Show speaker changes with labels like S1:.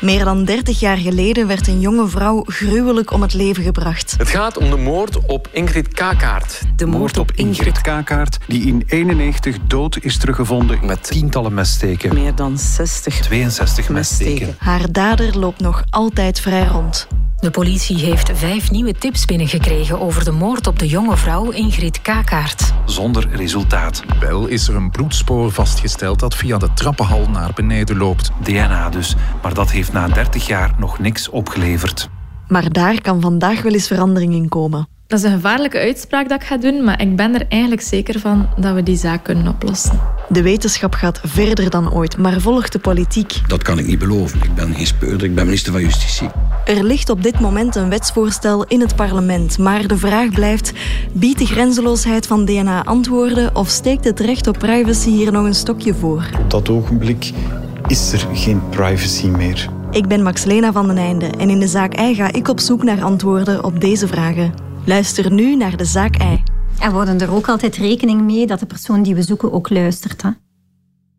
S1: Meer dan 30 jaar geleden werd een jonge vrouw gruwelijk om het leven gebracht.
S2: Het gaat om de moord op Ingrid Kakaert.
S3: De moord op Ingrid
S4: Kakaert, die in 91 dood is teruggevonden met tientallen messteken.
S3: meer dan 60
S4: 62 messteken.
S3: messteken.
S1: Haar dader loopt nog altijd vrij rond.
S5: De politie heeft vijf nieuwe tips binnengekregen over de moord op de jonge vrouw Ingrid Kakaert.
S4: Zonder resultaat.
S6: Wel is er een bloedspoor vastgesteld dat via de trappenhal naar beneden loopt.
S4: DNA dus. Maar dat heeft na 30 jaar nog niks opgeleverd.
S1: Maar daar kan vandaag wel eens verandering in komen.
S7: Dat is een gevaarlijke uitspraak dat ik ga doen, maar ik ben er eigenlijk zeker van dat we die zaak kunnen oplossen.
S1: De wetenschap gaat verder dan ooit, maar volgt de politiek.
S8: Dat kan ik niet beloven. Ik ben geen speurder, ik ben minister van Justitie.
S1: Er ligt op dit moment een wetsvoorstel in het parlement, maar de vraag blijft: biedt de grenzeloosheid van DNA antwoorden of steekt het recht op privacy hier nog een stokje voor?
S9: Op dat ogenblik is er geen privacy meer.
S1: Ik ben Maxlena van den Einde en in de zaak Ei ga ik op zoek naar antwoorden op deze vragen. Luister nu naar de zaak Ei.
S10: En we houden er ook altijd rekening mee dat de persoon die we zoeken ook luistert. Hè?